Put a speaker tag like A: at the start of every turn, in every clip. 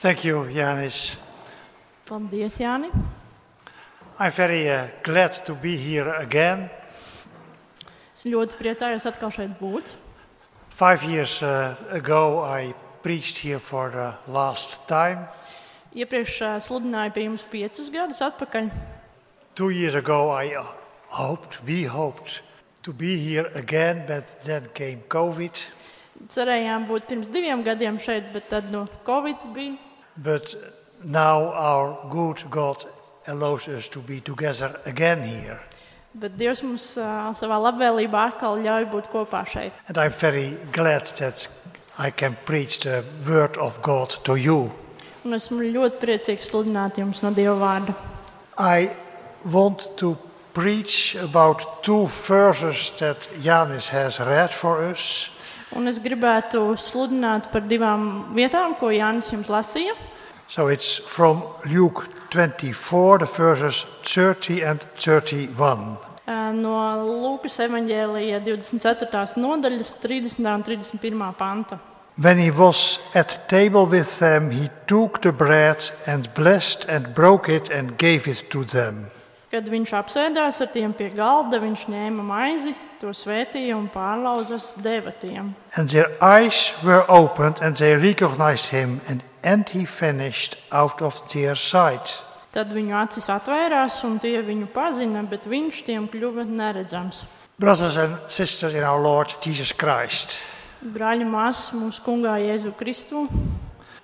A: Thank you, Janis.
B: Paldies, Jāni.
A: I'm very uh, glad to be here again.
B: Es ļoti priecājos atkal šeit būt.
A: Five years uh, ago, I preached here for the last time.
B: Iepriekš ā, sludināju pie jums piecus gadus atpakaļ.
A: Two years ago, I uh, hoped, we hoped to be here again, but then came COVID.
B: Cerējām būt pirms diviem gadiem šeit, bet tad no Covid bija.
A: But now our good God allows us to be together again here.
B: Bet Dievs mums ā, savā labvēlībā atkal ļauj būt kopā šeit.
A: And I'm very glad that I can preach the word of God to you.
B: Un esmu ļoti priecīgs sludināt jums no Dieva vārda.
A: I want to preach about two verses that Janis has read for us.
B: Un es gribētu sludināt par divām vietām, ko Jānis jums lasīja.
A: So it's from Luke 24, the verses 30 and 31.
B: Ā, No Lūkas evanģēlīja 24. nodaļas, 30. un 31. panta.
A: When he was at table with them, he took the bread and blessed and broke it and gave it to them.
B: Kad viņš apsēdās ar tiem pie galda, viņš ņēma maizi, to svētīja un pārlauzas deva tiem.
A: And their eyes were opened and they recognized him, and, and he vanished out of their sight.
B: Tad viņu acis atvērās, un tie viņu pazina, bet viņš tiem kļuva neredzams.
A: Brothers and sisters in our Lord Jesus Christ,
B: Brāļa māsas mūsu kungā Jēzu Kristu.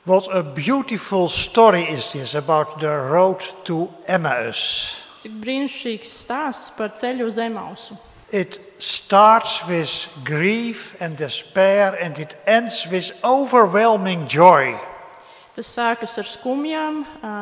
A: what a beautiful story is this about the road to Emmaus.
B: Cik brīnišķīgs stāsts par ceļu uz Emausu.
A: It starts with grief and despair, and it ends with overwhelming joy.
B: Tas sākas ar skumjām ā,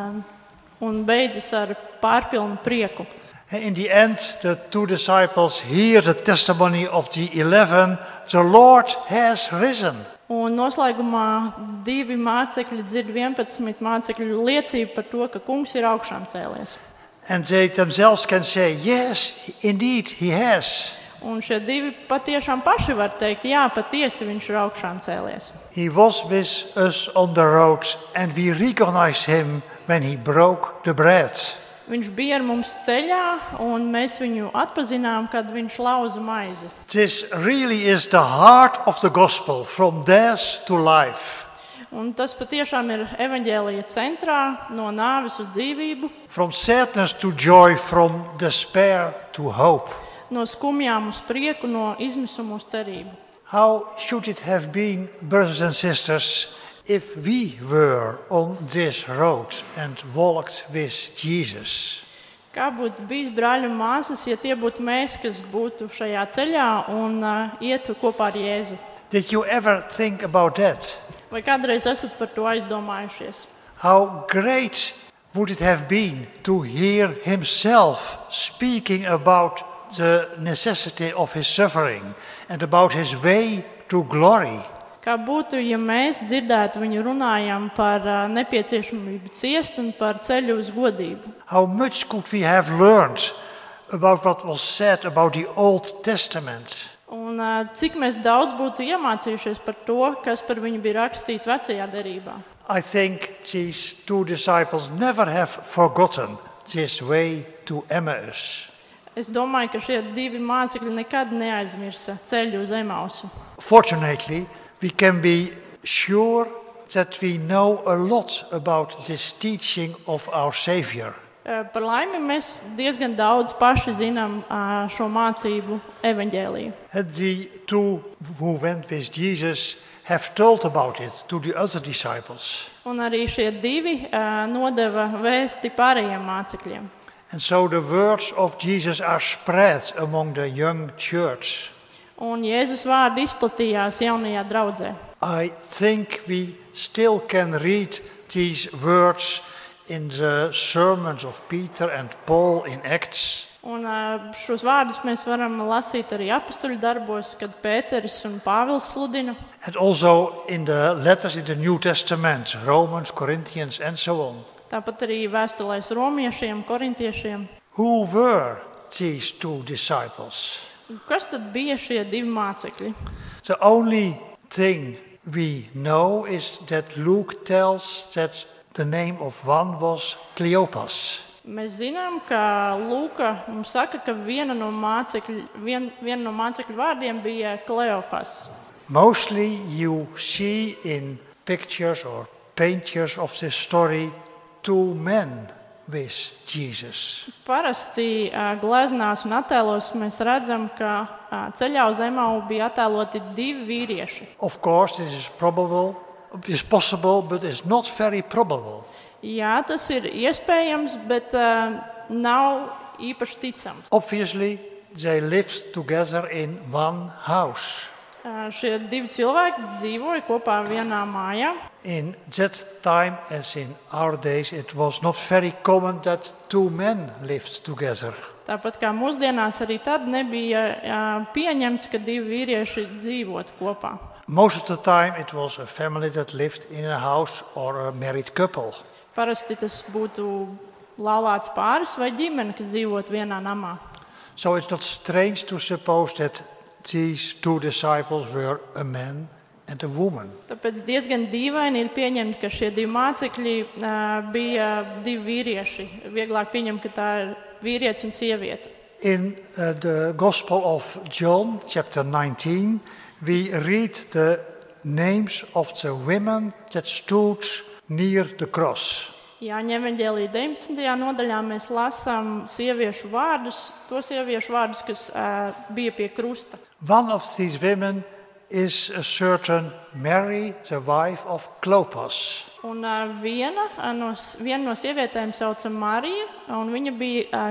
B: un beidzas ar pārpilnu prieku.
A: And in the end, the two disciples hear the testimony of the eleven the Lord has risen.
B: Un noslēgumā divi mācekļi dzird 11 mācekļu liecību par to, ka kungs ir augšām cēlies.
A: And they themselves can say, Yes, indeed, he has.
B: Un šie divi patiešām paši var teikt, jā, patiesi viņš ir augšām cēlies.
A: He was with us on the road, and we recognized him when he broke the bread.
B: Viņš bija ar mums ceļā, un mēs viņu atpazinām, kad viņš lauza maizi.
A: This really is the heart of the gospel from death to life.
B: Un tas patiešām ir evaņģēlīja centrā, no nāves uz dzīvību,
A: From sadness to joy, from despair to hope.
B: no skumjām uz prieku, no izmisuma uz cerību.
A: How should it have been, brothers and sisters, if we were on this road and walked with Jesus?
B: Kā būtu bijis brāļi un māsas, ja tie būtu mēs, kas būtu šajā ceļā un uh, ietu kopā ar Jēzu?
A: Did you ever think about that?
B: Vai kādreiz esat par to aizdomājušies?
A: How great would it have been to hear himself speaking about the necessity of his suffering and about his way to glory?
B: Kā būtu, ja mēs dzirdētu viņu runājam par ā, nepieciešamību ciest un par ceļu uz godību?
A: How much could we have learned about what was said about the Old Testament?
B: Un, ā, cik mēs daudz būtu iemācījušies par to, kas par viņu bija rakstīts vecajā derībā?
A: I think these two disciples never have forgotten this way to Emmaus.
B: Es domāju, ka šie divi mācekļi nekad neaizmirsa ceļu uz Emausu.
A: Fortunately, we can be sure that we know a lot about this teaching of our Savior.
B: Ā, Par laimi mēs diezgan daudz paši zinām ā, šo mācību evaņģēlīju.
A: And the two who went with Jesus have told about it to the other disciples.
B: Un arī šie divi ā, nodeva vēsti pārējiem mācekļiem.
A: And so the words of Jesus are spread among the young church.
B: Un Jēzus vārdi izplatījās jaunajā draudzē.
A: I think we still can read these words in the sermons of Peter and Paul in Acts.
B: Un ā, šos vārdus mēs varam lasīt arī apakstuļu darbos, kad Pēteris un Pāvils sludina,
A: And also in the letters in the New Testament, Romans, Corinthians, and so on.
B: tāpat arī vēstulēs romiešiem, korintiešiem.
A: Who were these two disciples?
B: Kas tad bija šie divi mācekļi?
A: The only thing we know is that Luke tells that the name of one was Cleopas.
B: Mēs zinām, ka Lūka mums saka, ka viena no mācekļu, vien, viena no mācekļu vārdiem bija Kleofas.
A: Mostly you see in pictures or paintings of this story two men with Jesus.
B: Parasti ā, gleznās un attēlos mēs redzam, ka ā, ceļā uz Emau bija attēloti divi vīrieši.
A: Of course, this is probable, is possible, but it's not very probable.
B: Jā, tas ir iespējams, bet ā, nav īpaši ticams.
A: Obviously, they lived together in one house.
B: Ā, Šie divi cilvēki dzīvoja kopā vienā mājā.
A: In that time, as in our days, it was not very common that two men lived together.
B: Tāpat kā mūsdienās, arī tad nebija ā, pieņemts, ka divi vīrieši dzīvotu kopā.
A: Most of the time, it was a family that lived in a house or a married couple.
B: Parasti tas būtu laulāts pāris vai ģimene, kas dzīvot vienā namā.
A: So it's not strange to suppose that these two disciples were a man and a woman.
B: Tāpēc diezgan dīvaini ir pieņemt, ka šie divi mācekļi ā, bija divi vīrieši. Vieglāk pieņemt, ka tā ir vīrietis un sieviete.
A: In uh, the Gospel of John, chapter 19, we read the names of the women that stood near the cross.
B: Jāņem evanģēlīja 19. nodaļā mēs lasām sieviešu vārdus, to sieviešu vārdus, kas ā, bija pie krusta.
A: One of these women is a certain Mary, the wife of Clopas.
B: Un ā, viena ā, no, s- viena no sievietēm sauca Mariju, un viņa bija ā,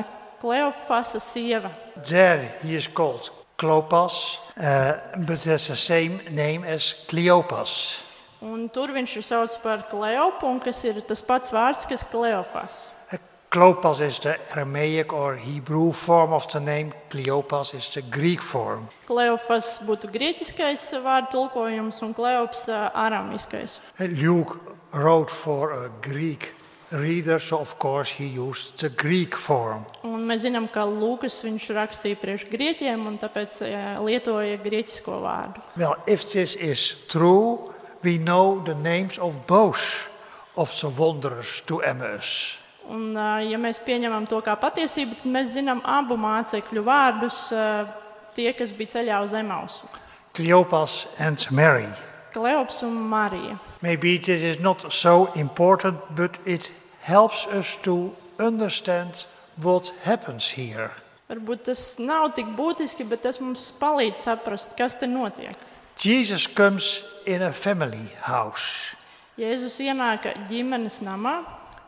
B: Kleofasa sieva.
A: There he is called Clopas, uh, but that's the same name as Cleopas.
B: Un tur viņš ir saucts par Kleopu, un kas ir tas pats vārds, kas Kleofas.
A: Uh, Clopas is the Aramaic or Hebrew form of the name, Cleopas is the Greek form.
B: Kleofas būtu grieķiskais vārdu tulkojums un kleops ā, aramiskais.
A: Uh, Luke wrote for a Greek reader, so of course he used the Greek form.
B: Un mēs zinām, ka Lūkas viņš rakstīja priekš grieķiem un tāpēc ā, lietoja grieķisko vārdu.
A: Well, if this is true, we know the names of both of the wanderers to Emmaus.
B: Un, ā, ja mēs pieņemam to kā patiesību, tad mēs zinām abu mācekļu vārdus, ā, tie, kas bija ceļā uz Emausu -
A: Cleopas and Mary.
B: Kleops un Marija.
A: Maybe this is not so important, but it helps us to understand what happens here.
B: Varbūt tas nav tik būtiski, bet tas mums palīdz saprast, kas te notiek.
A: Jesus comes in a family house.
B: Jēzus ienāka ģimenes namā,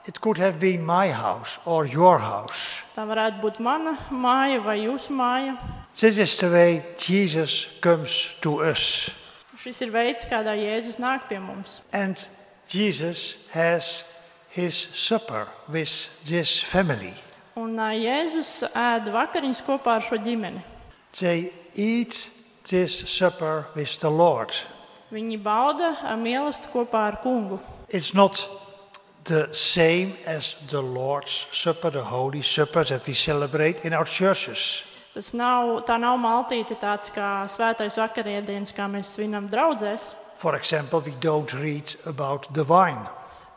A: It could have been my house or your house.
B: Tā varētu būt mana māja vai jūsu māja.
A: This is the way Jesus comes to us.
B: Šis ir veids, kādā Jēzus nāk pie mums.
A: And Jesus has his supper with this family.
B: Un ā, Jēzus ēda vakariņas kopā ar šo ģimeni.
A: They eat this supper with the Lord.
B: Viņi bauda ā, mīlestību kopā ar kungu.
A: It's not the same as the Lord's Supper, the Holy Supper that we celebrate in our churches.
B: Tas nav, tā nav maltīte tāds kā svētais vakariedienas, kā mēs svinam draudzēs,
A: For example, we don't read about the wine.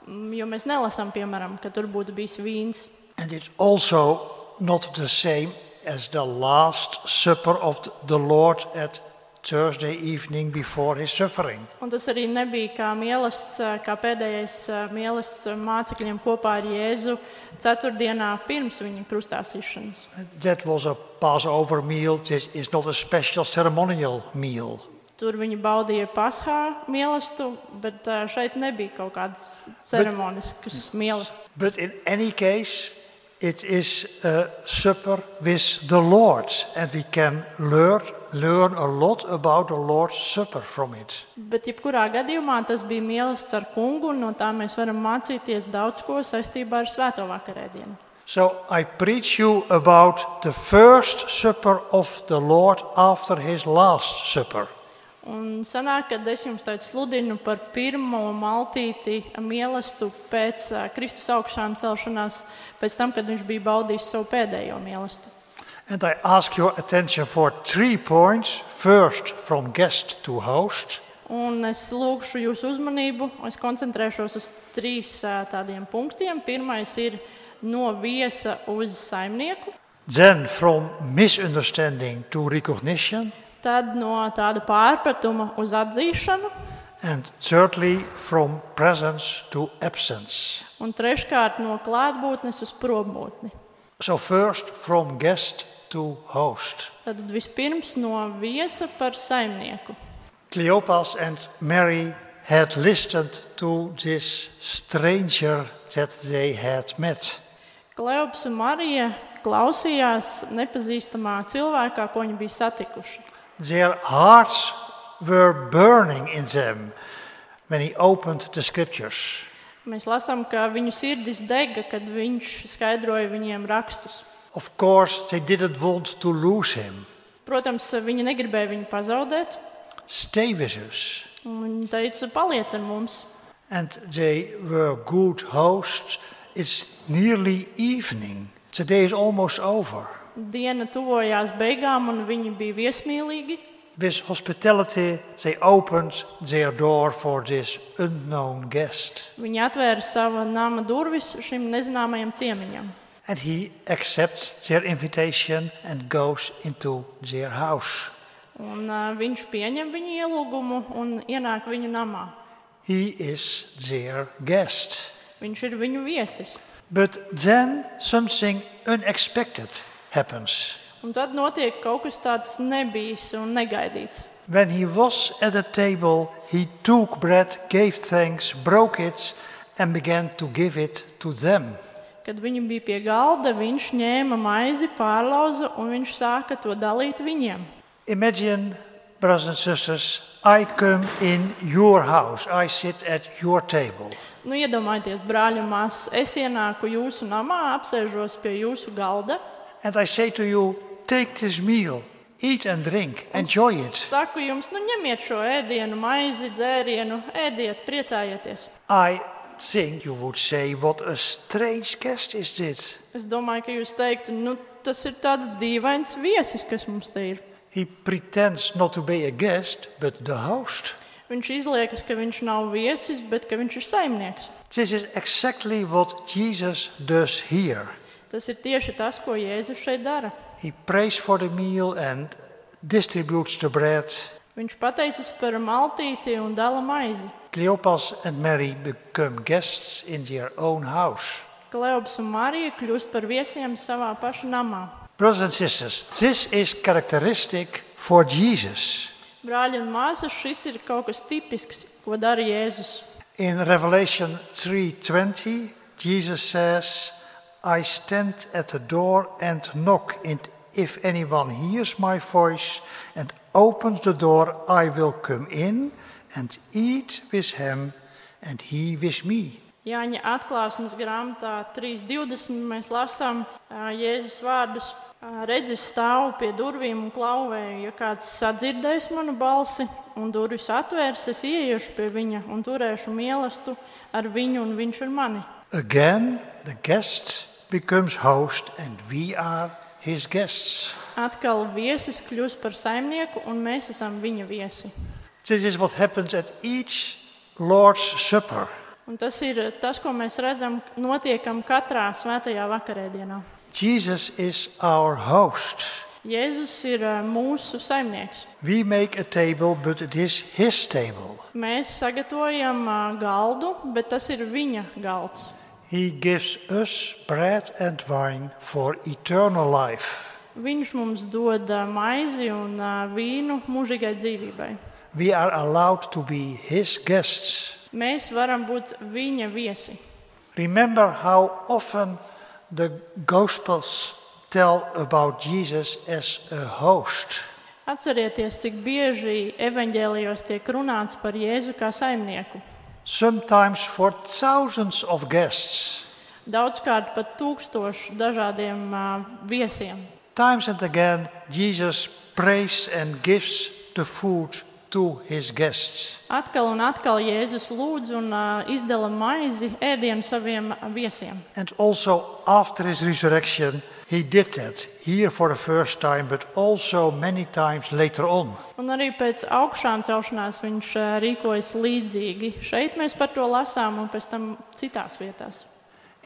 B: m, jo mēs nelasām, piemēram, ka tur būtu bijis vīns.
A: And it's also not the same as the Last Supper of the Lord at Thursday evening before his suffering.
B: Un tas arī nebija kā mīlestības, kā pēdējais ā, mīlestības mācekļiem kopā ar Jēzu ceturtdienā pirms viņa krustāsīšanas.
A: That was a Passover meal. This is not a special ceremonial meal.
B: Tur viņi baudīja pasā mīlestību, bet ā, šeit nebija kaut kādas ceremoniskas mīlestības.
A: But in any case, it is a supper with the Lord, and we can learn, learn a lot about the Lord's Supper from it.
B: Bet, jebkurā gadījumā, tas bija mīlestības ar kungu, un no tā mēs varam mācīties daudz ko saistībā ar Svēto vakarēdienu.
A: So I preach you about the first supper of the Lord after his last supper.
B: Un sanāk, kad es jums tādu sludinu par pirmo maltīti mīlestību pēc ā, Kristus augšām celšanās, pēc tam, kad viņš bija baudījis savu pēdējo mīlestību.
A: And I ask your attention for three points. First, from guest to host.
B: Un es lūgšu jūsu uzmanību. Es koncentrēšos uz trīs ā, tādiem punktiem. Pirmais ir no viesa uz saimnieku,
A: Then from misunderstanding to recognition.
B: tad no tāda pārpratuma uz atzīšanu,
A: And thirdly, from presence to absence.
B: un treškārt no klātbūtnes uz prombūtni.
A: So, first, from guest to host.
B: Tad vispirms no viesa par saimnieku.
A: Cleopas and Mary had listened to this stranger that they had met.
B: Kleops un Marija klausījās nepazīstamā cilvēkā, ko viņi bija satikuši.
A: Their hearts were burning in them when he opened the scriptures.
B: Mēs lasām, ka viņu sirdis dega, kad viņš skaidroja viņiem rakstus.
A: Of course, they didn't want to lose him.
B: Protams, viņi negribēja viņu pazaudēt.
A: Stay with us.
B: un Viņi teica, paliec ar mums.
A: And they were good hosts. It's nearly evening. The day is almost over.
B: Diena tuvojās beigām, un viņi bija viesmīlīgi.
A: With hospitality, they opened their door for this unknown guest.
B: Viņi atvēra savu nama durvis šim nezināmajam ciemiņam.
A: And he accepts their invitation and goes into their house.
B: Un, uh, viņš pieņem viņu ielūgumu un ienāk viņu namā.
A: He is their guest.
B: Viņš ir viņu viesis.
A: But then something unexpected happens.
B: Un tad notiek kaut kas tāds nebijis un negaidīts.
A: When he was at the table, he took bread, gave thanks, broke it, and began to give it to them.
B: Kad viņi bija pie galda, viņš ņēma maizi, pārlauza un viņš sāka to dalīt viņiem.
A: Imagine, brothers and sisters, I come in your house, I sit at your table.
B: Nu, iedomājieties, brāļi, māsas, es ienāku jūsu namā, apsēžos pie jūsu galda.
A: And I say to you, take this meal, eat and drink, enjoy it.
B: Saku jums, nu ņemiet šo ēdienu, maizi, dzērienu, ēdiet, priecājieties.
A: I think you would say, what a strange guest is this.
B: Es domāju, ka jūs teiktu, nu, tas ir tāds dīvains viesis, kas mums te ir.
A: He pretends not to be a guest, but the host.
B: Viņš izliekas, ka viņš nav viesis, bet ka viņš ir saimnieks.
A: This is exactly what Jesus does here.
B: Tas ir tieši tas, ko Jēzus šeit dara.
A: He prays for the meal and distributes the bread.
B: Viņš pateicas par maltīti un dala maizi.
A: Cleopas and Mary become guests in their own house.
B: Kleops un Marija kļūst par viesiem savā paša namā.
A: Brothers and sisters, this is characteristic for Jesus.
B: Brāļi un māsas, šis ir kaut kas tipisks, ko dara Jēzus.
A: In Revelation 3:20, Jesus says, "I stand at the door and knock, and if anyone hears my voice and opens the door, I will come in and eat with him and he with me."
B: Jāņa atklāsmes grāmatā 3.20 mēs lasām ā, Jēzus vārdus. Ā, Redzi, es stāvu pie durvīm un klauvēju. Ja kāds sadzirdēs manu balsi un durvis atvērs, es ieiešu pie viņa un turēšu mīlestību ar viņu un viņš ar mani.
A: Again, the guest becomes host and we are his guests.
B: Atkal viesis kļūst par saimnieku un mēs esam viņa viesi.
A: This is what happens at each Lord's Supper.
B: Un tas ir tas, ko mēs redzam, notiekam katrā svētajā vakarēdienā.
A: Jesus is our host.
B: Jēzus ir ā, mūsu saimnieks.
A: We make a table, but it is his table.
B: Mēs sagatavojam ā, galdu, bet tas ir viņa galds.
A: He gives us bread and wine for eternal life.
B: Viņš mums dod ā, maizi un ā, vīnu mūžīgai dzīvībai.
A: We are allowed to be his guests.
B: Mēs varam būt viņa viesi.
A: Remember how often the Gospels tell about Jesus as a host.
B: Atcerieties, cik bieži evanģēlijos tiek runāts par Jēzu kā saimnieku.
A: Sometimes for thousands of guests.
B: Daudzkārt pat tūkstošu dažādiem ā, viesiem.
A: Times and again, Jesus prays and gives the food to his guests.
B: Atkal un atkal Jēzus lūdz un ā, izdala maizi ēdienu saviem viesiem.
A: And also after his resurrection, He did that here for the first time, but also many times later on.
B: Un arī pēc augšām celšanās viņš ā, rīkojas līdzīgi. Šeit mēs par to lasām, un pēc tam citās vietās.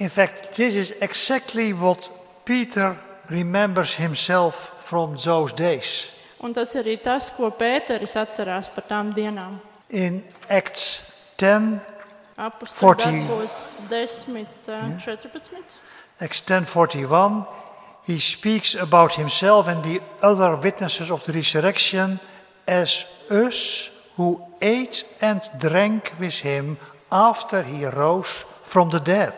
A: In fact, this is exactly what Peter remembers himself from those days.
B: Un tas arī tas, ko Pēteris atcerās par tām dienām.
A: In Acts 10,
B: Apostoli
A: 14.
B: darbos eh, 10, ā, 14.
A: Acts 10:41, he speaks about himself and the other witnesses of the resurrection as us who ate and drank with him after he rose from the dead.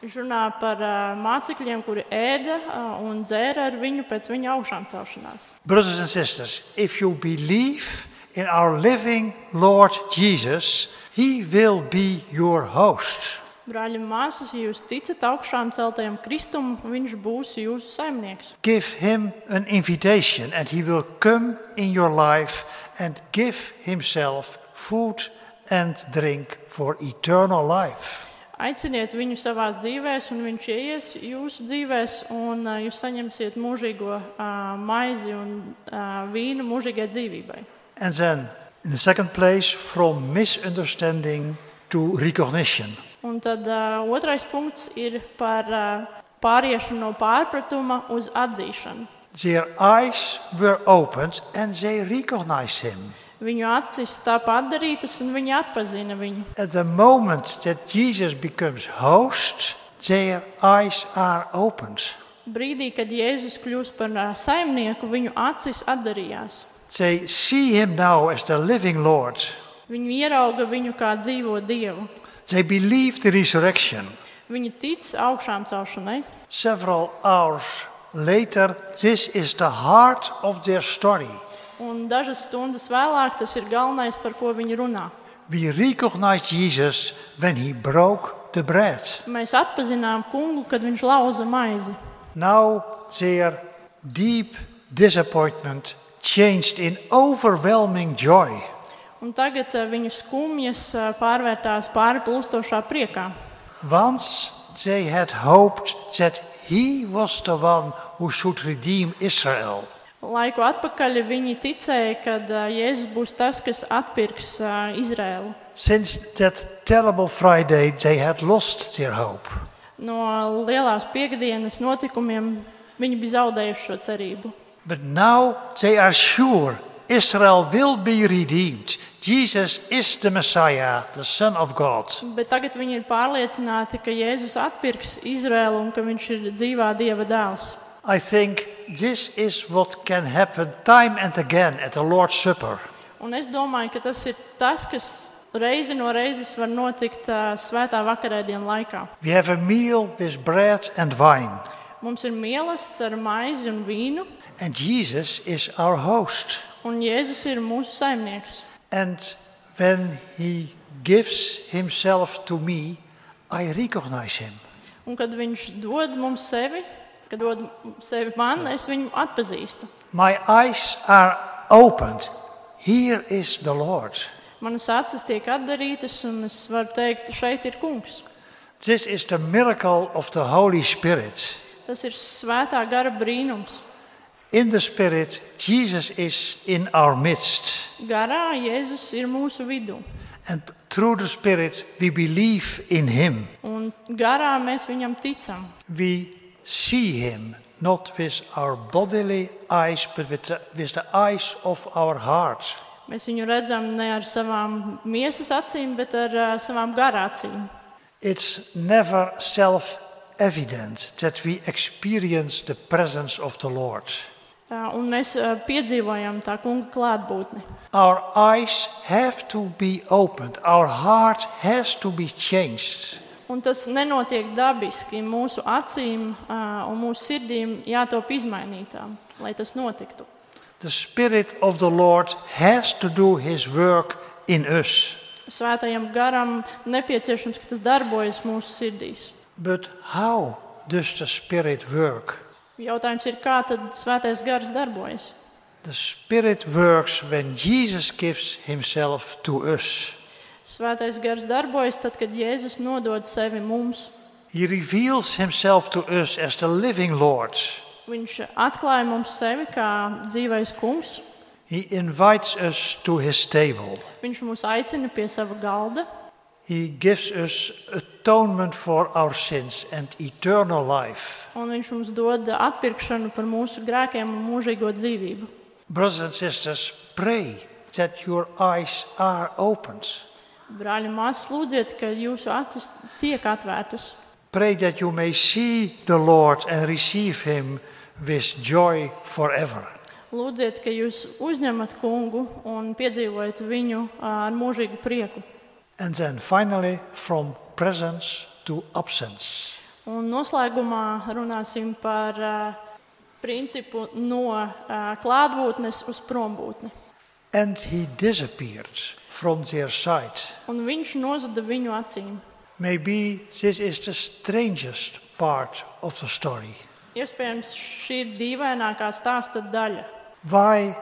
B: Viņš runā par ā, mācekļiem, kuri ēda ā, un dzēra ar viņu pēc viņa augšām celšanās.
A: Brothers and sisters, if you believe in our living Lord Jesus, he will be your host.
B: Brāļi un māsas, ja jūs ticat augšām celtajam kristumam, viņš būs jūsu saimnieks.
A: Give him an invitation and he will come in your life and give himself food and drink for eternal life.
B: Aiciniet viņu savā dzīvē, un viņš ienāks jūsu dzīvē, un ā, jūs saņemsiet mūžīgo ā, maizi un ā, vīnu mūžīgai dzīvībai.
A: And then, in the second place, from misunderstanding to recognition.
B: Un tad ā, otrais punkts ir par ā, pāriešanu no pārpratuma uz atzīšanu.
A: Their eyes were opened and they recognized him.
B: Viņu acis tā padarītas, un viņi atpazina viņu.
A: At the moment that Jesus becomes host, their eyes are opened.
B: Brīdī, kad Jēzus kļūst par ā, saimnieku, viņu acis atdarījās.
A: They see him now as the living Lord.
B: Viņi ierauga viņu kā dzīvo dievu.
A: They believe the resurrection.
B: Viņi tic augšām celšanai.
A: Several hours later, this is the heart of their story.
B: Un dažas stundas vēlāk tas ir galvenais, par ko viņi runā.
A: We recognize Jesus when he broke the bread.
B: Mēs atpazinām kungu, kad viņš lauza maizi.
A: Now their deep disappointment changed in overwhelming joy.
B: Un tagad eh, viņu skumjas eh, pārvērtās pāri plūstošā priekā.
A: Once they had hoped that he was the one who should redeem Israel.
B: Laiku atpakaļ viņi ticēja, ka Jēzus būs tas, kas atpirks eh, Izraēlu.
A: Since that terrible Friday, they had lost their hope.
B: No lielās piekdienas notikumiem viņi bija zaudējuši šo cerību.
A: But now they are sure Israel will be redeemed. Jesus is the Messiah, the Son of God.
B: Bet tagad viņi ir pārliecināti, ka Jēzus atpirks Izraēlu un ka viņš ir dzīvā Dieva dēls.
A: I think this is what can happen time and again at the Lord's Supper.
B: Un es domāju, ka tas ir tas, kas reizi no reizes var notikt ā, svētā vakarēdienu laikā.
A: We have a meal with bread and wine,
B: Mums ir mielasts ar maizi un vīnu,
A: and Jesus is our host.
B: un Jēzus ir mūsu saimnieks.
A: And when he gives himself to me, I recognize him.
B: Un kad viņš dod mums sevi, kad dod sevi man, es viņu atpazīstu.
A: My eyes are opened. Here is the Lord.
B: Manas acis tiek atdarītas, un es varu teikt, šeit ir kungs.
A: This is the miracle of the Holy Spirit.
B: Tas ir svētā gara brīnums.
A: In the Spirit, Jesus is in our midst.
B: Garā Jēzus ir mūsu vidū,
A: And through the Spirit, we believe in him.
B: un garā mēs viņam ticam.
A: we see him not with our bodily eyes but with the, with the eyes of our heart
B: Mēs viņu redzam ne ar savām miesas acīm, bet ar uh, savām garā acīm.
A: it's never self evident that we experience the presence of the lord
B: Uh, un mēs uh, piedzīvojam tā kunga klātbūtni.
A: our eyes have to be opened our heart has to be changed
B: Un tas nenotiek dabiski. Mūsu acīm uh, un mūsu sirdīm jātop izmainītām, lai tas notiktu.
A: the spirit of the lord has to do his work in us
B: Svētajam garam nepieciešams, ka tas darbojas mūsu sirdīs.
A: but how does the spirit work
B: Jautājums ir, kā tad svētais gars darbojas?
A: The Spirit works when Jesus gives Himself to us.
B: Svētais gars darbojas tad, kad Jēzus nodod sevi mums.
A: He reveals himself to us as the living Lord.
B: Viņš atklāja mums sevi kā dzīvais kungs.
A: He invites us to his table.
B: Viņš mūs aicina pie sava galda.
A: He gives us atonement for our sins and eternal life.
B: Un viņš mums dod atpirkšanu par mūsu grēkiem un mūžīgo dzīvību.
A: Brothers and sisters, pray that your eyes are opened.
B: Brāļi, māsas, lūdziet, ka jūsu acis tiek atvērtas.
A: Pray that you may see the Lord and receive him with joy forever.
B: Lūdziet, ka jūs uzņemat kungu un piedzīvojat viņu ar mūžīgu prieku.
A: And then finally, from presence to absence.
B: Un noslēgumā runāsim par ā, principu no ā, klātbūtnes uz prombūtni.
A: And he disappeared from their sight.
B: Un viņš nozuda viņu acīm.
A: Maybe this is the strangest part of the story.
B: Iespējams, šī ir dīvainākā stāsta daļa.
A: Why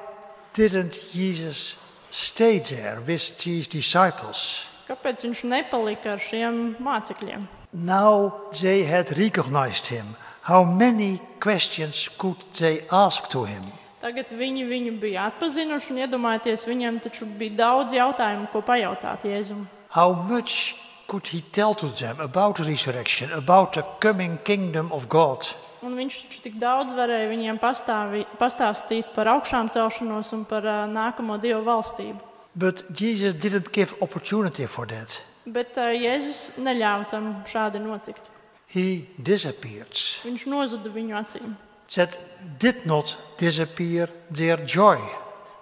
A: didn't Jesus stay there with these disciples?
B: Kāpēc viņš nepalika ar šiem mācekļiem?
A: Now they had recognized him. How many questions could they ask to him?
B: Tagad viņi viņu bija atpazinuši un iedomājieties, viņiem taču bija daudz jautājumu, ko pajautāt Jēzum.
A: How much could he tell to them about the resurrection, about the coming kingdom of God?
B: Un viņš taču tik daudz varēja viņiem pastāvi, pastāstīt par augšām celšanos un par uh, nākamo dievu valstību.
A: But Jesus didn't give opportunity for that.
B: Bet uh, Jēzus neļāva tam šādi notikt.
A: He disappeared.
B: Viņš nozuda viņu acīm.
A: That did not disappear their joy.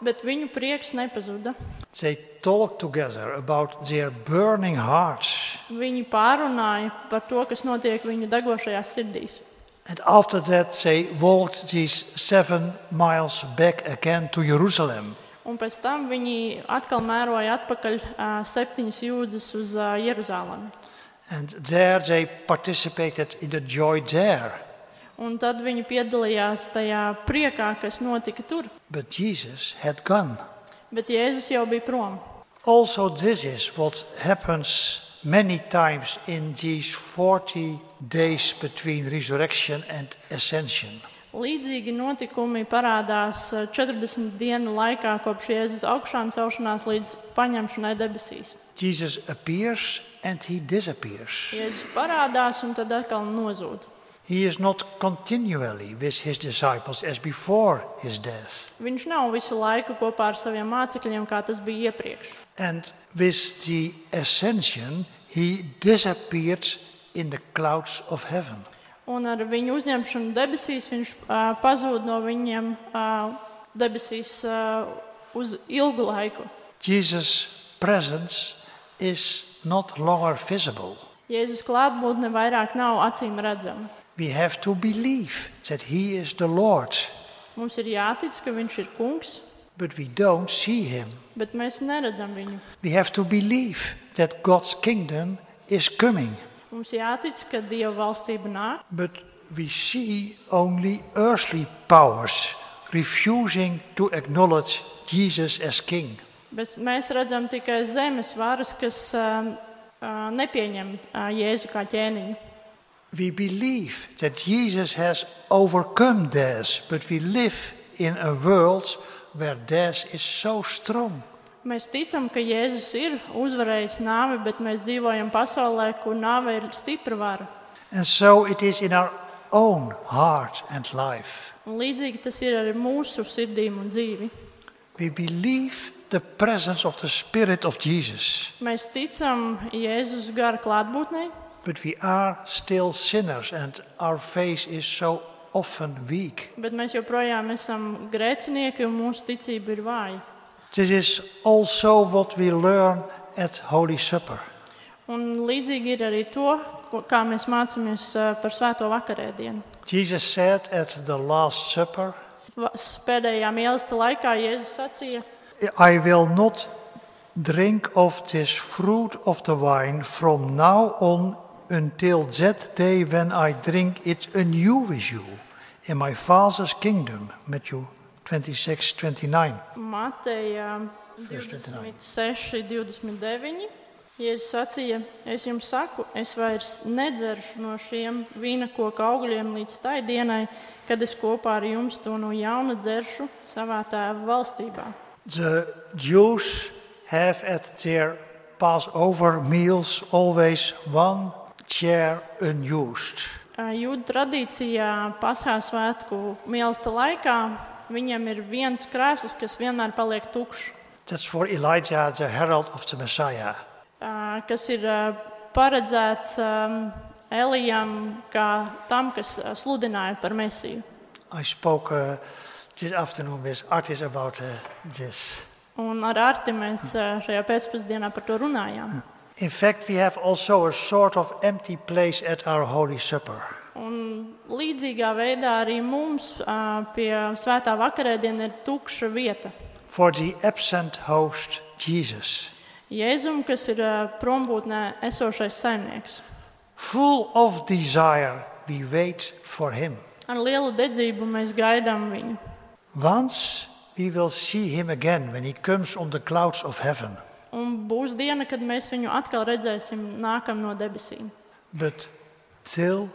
B: Bet viņu prieks nepazuda.
A: They talked together about their burning hearts.
B: Viņi pārunāja par to, kas notiek viņu degošajās sirdīs.
A: And after that, they walked these seven miles back again to Jerusalem.
B: Un pēc tam viņi atkal mēroja atpakaļ uh, septiņas jūdzes uz uh, Jeruzalemi.
A: And there they participated in the joy there.
B: Un tad viņi piedalījās tajā priekā, kas notika tur.
A: But Jesus had gone.
B: Bet Jēzus jau bija prom.
A: Also, this is what happens many times in these 40 days between resurrection and ascension.
B: Līdzīgi notikumi parādās eh, 40 dienu laikā kopš Jēzus augšām celšanās līdz paņemšanai debesīs.
A: Jesus appears and he disappears.
B: Jēzus parādās un tad atkal nozūd.
A: He is not continually with his disciples as before his death.
B: Viņš nav visu laiku kopā ar saviem mācekļiem, kā tas bija iepriekš.
A: And with the ascension, he disappeared in the clouds of heaven.
B: Un ar viņu uzņemšanu debesīs viņš uh, pazūd no viņiem uh, debesīs uh, uz ilgu laiku.
A: Jesus' presence is not longer visible.
B: Jēzus klātbūtne vairāk nav acīm redzama.
A: We have to believe that he is the Lord,
B: Mums ir jātic, ka viņš ir kungs,
A: but we don't see him.
B: bet mēs neredzam viņu.
A: We have to believe that God's kingdom is coming,
B: Mums jātic, ka Dieva valstība nāk,
A: but we see only earthly powers refusing to acknowledge Jesus as king.
B: bet mēs redzam tikai zemes varas, kas ā, ā, nepieņem ā, Jēzu kā ķēniņu.
A: We believe that Jesus has overcome death, but we live in a world where death is so strong.
B: Mēs ticam, ka Jēzus ir uzvarējis nāvi, bet mēs dzīvojam pasaulē, kur nāve ir stipra vara.
A: And so it is in our own heart and life.
B: Un līdzīgi tas ir arī mūsu sirdīm un dzīvi.
A: We believe the presence of the Spirit of Jesus,
B: Mēs ticam Jēzus gara klātbūtnei,
A: but we are still sinners and our faith is so often weak.
B: bet mēs joprojām esam grēcinieki un mūsu ticība ir vāja.
A: This is also what we learn at Holy Supper.
B: Un līdzīgi ir arī to, ko- kā mēs mācāmies ā, par Svēto vakarēdienu.
A: Jesus said at the Last Supper,
B: Va- Pēdējā mīlestības laikā Jēzus sacīja,
A: I will not drink of this fruit of the vine from now on until that day when I drink it anew with you in my Father's kingdom. Matthew 26, 29.
B: Mateja 26, 29. Jēzus sacīja, es jums saku, es vairs nedzeršu no šiem vīna koka augļiem līdz tai dienai, kad es kopā ar jums to no jauna dzeršu savā tēva valstībā.
A: The Jews have at their Passover meals always one chair unused.
B: Jūda tradīcijā pasāku svētku mīlesta laikā viņiem ir viens krēsls, kas vienmēr paliek tukšs,
A: That's for Elijah, the herald of the Messiah.
B: ā, kas ir ā, paredzēts ām, Elijam, kā tam, kas ā, sludināja par Mēsiju.
A: I spoke uh, this afternoon with artists about uh, this.
B: Un ar Arti mēs ā, šajā pēcpusdienā par to runājām.
A: In fact, we have also a sort of empty place at our Holy Supper.
B: Un līdzīgā veidā arī mums ā, pie svētā vakarēdiena ir tukša vieta.
A: for the absent host Jesus,
B: Jēzum, kas ir ā, prombūtnē esošais saimnieks.
A: full of desire, we wait for him.
B: Ar lielu dedzību mēs gaidām viņu.
A: Once we will see him again when he comes on the clouds of heaven.
B: Un būs diena, kad mēs viņu atkal redzēsim nākam no debesīm.
A: But till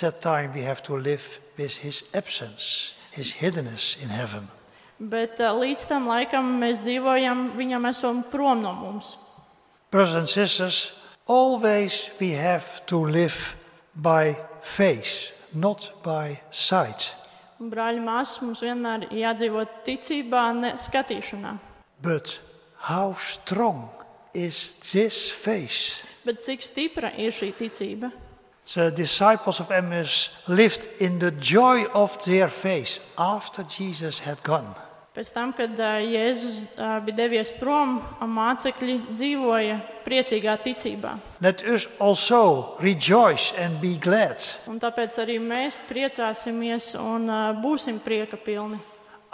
A: that time, we have to live with his absence, his hiddenness in heaven.
B: Bet ā, līdz tam laikam mēs dzīvojam, viņam esam prom no mums.
A: Brothers and sisters, always we have to live by faith, not by sight.
B: Un, Brāļi, māsas, mums vienmēr jādzīvo ticībā, ne skatīšanā.
A: But how strong is this faith?
B: Bet cik stipra ir šī ticība?
A: The disciples of Emmaus lived in the joy of their faith after Jesus had gone.
B: Pēc tam, kad ā, Jēzus ā, bija devies prom, mācekļi dzīvoja priecīgā ticībā.
A: Let us also rejoice and be glad.
B: Un tāpēc arī mēs priecāsimies un ā, būsim prieka pilni.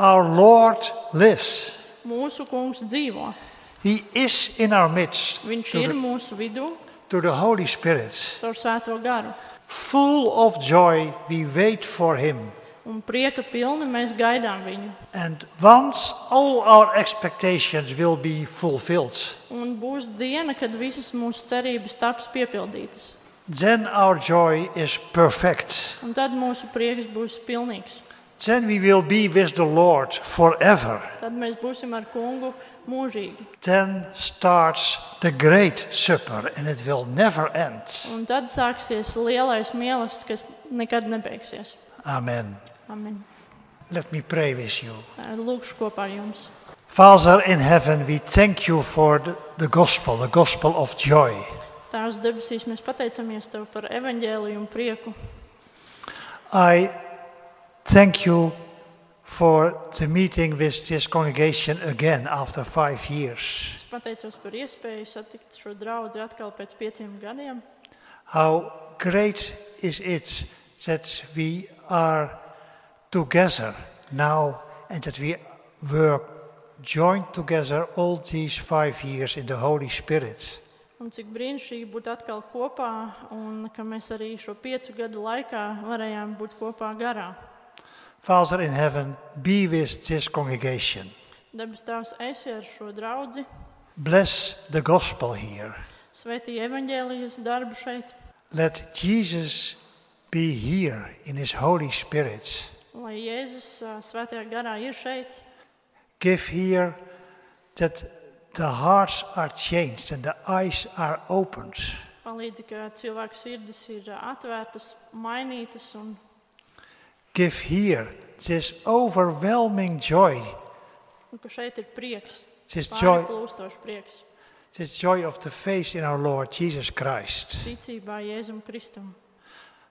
A: Our Lord lives.
B: Mūsu kungs dzīvo.
A: He is in our midst
B: Viņš
A: through
B: ir
A: the,
B: mūsu vidū
A: through the Holy Spirit.
B: caur svēto garu.
A: Full of joy, we wait for Him.
B: Un prieka pilni mēs gaidām viņu.
A: And once all our expectations will be fulfilled,
B: Un būs diena, kad visas mūsu cerības taps piepildītas.
A: then our joy is perfect.
B: Un tad mūsu prieks būs pilnīgs.
A: Then we will be with the Lord forever.
B: Tad mēs būsim ar kungu mūžīgi.
A: Then starts the great supper, and it will never end.
B: Un tad sāksies lielais mīlestības, kas nekad nebeigsies.
A: Amen.
B: Amen.
A: Let me pray with you.
B: Lūkšu kopā ar jums.
A: Father in heaven, we thank you for the, the gospel, the gospel of joy.
B: Tās debesīs mēs pateicamies Tev par evaņģēliju un prieku.
A: I thank you for the meeting with this congregation again after five years.
B: Es pateicos par iespēju satikt šo draugu atkal pēc pieciem gadiem.
A: How great is it that we are together now and that we were joined together all these five years in the Holy Spirit.
B: Un cik brīnišķīgi būt atkal kopā, un ka mēs arī šo piecu gadu laikā varējām būt kopā garā.
A: Father in heaven, be with this congregation.
B: Debes Tēvs, es ar šo draugu,
A: Bless the gospel here.
B: svētī evaņģēlijas darbu šeit,
A: Let Jesus be here in his Holy Spirit.
B: lai Jēzus ā, svētajā garā ir šeit,
A: Give here that the hearts are changed and the eyes are opened.
B: palīdzi, ka cilvēku sirdis ir ā, atvērtas, mainītas, un
A: Give here this overwhelming joy,
B: un ka šeit ir prieks,
A: this joy,
B: pārplūstošs prieks
A: this joy of the faith in our Lord Jesus Christ.
B: ticībā Jēzum Kristum.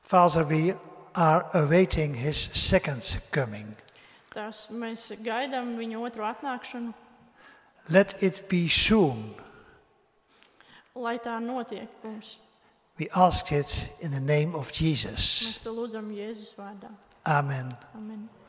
A: Father, we are awaiting his second coming.
B: Tās mēs gaidām viņa otru atnākšanu,
A: Let it be soon.
B: lai tā notiek mums.
A: We ask it in the name of Jesus.
B: Mēs to lūdzam Jēzus vārdā.
A: Amen.
B: Amen.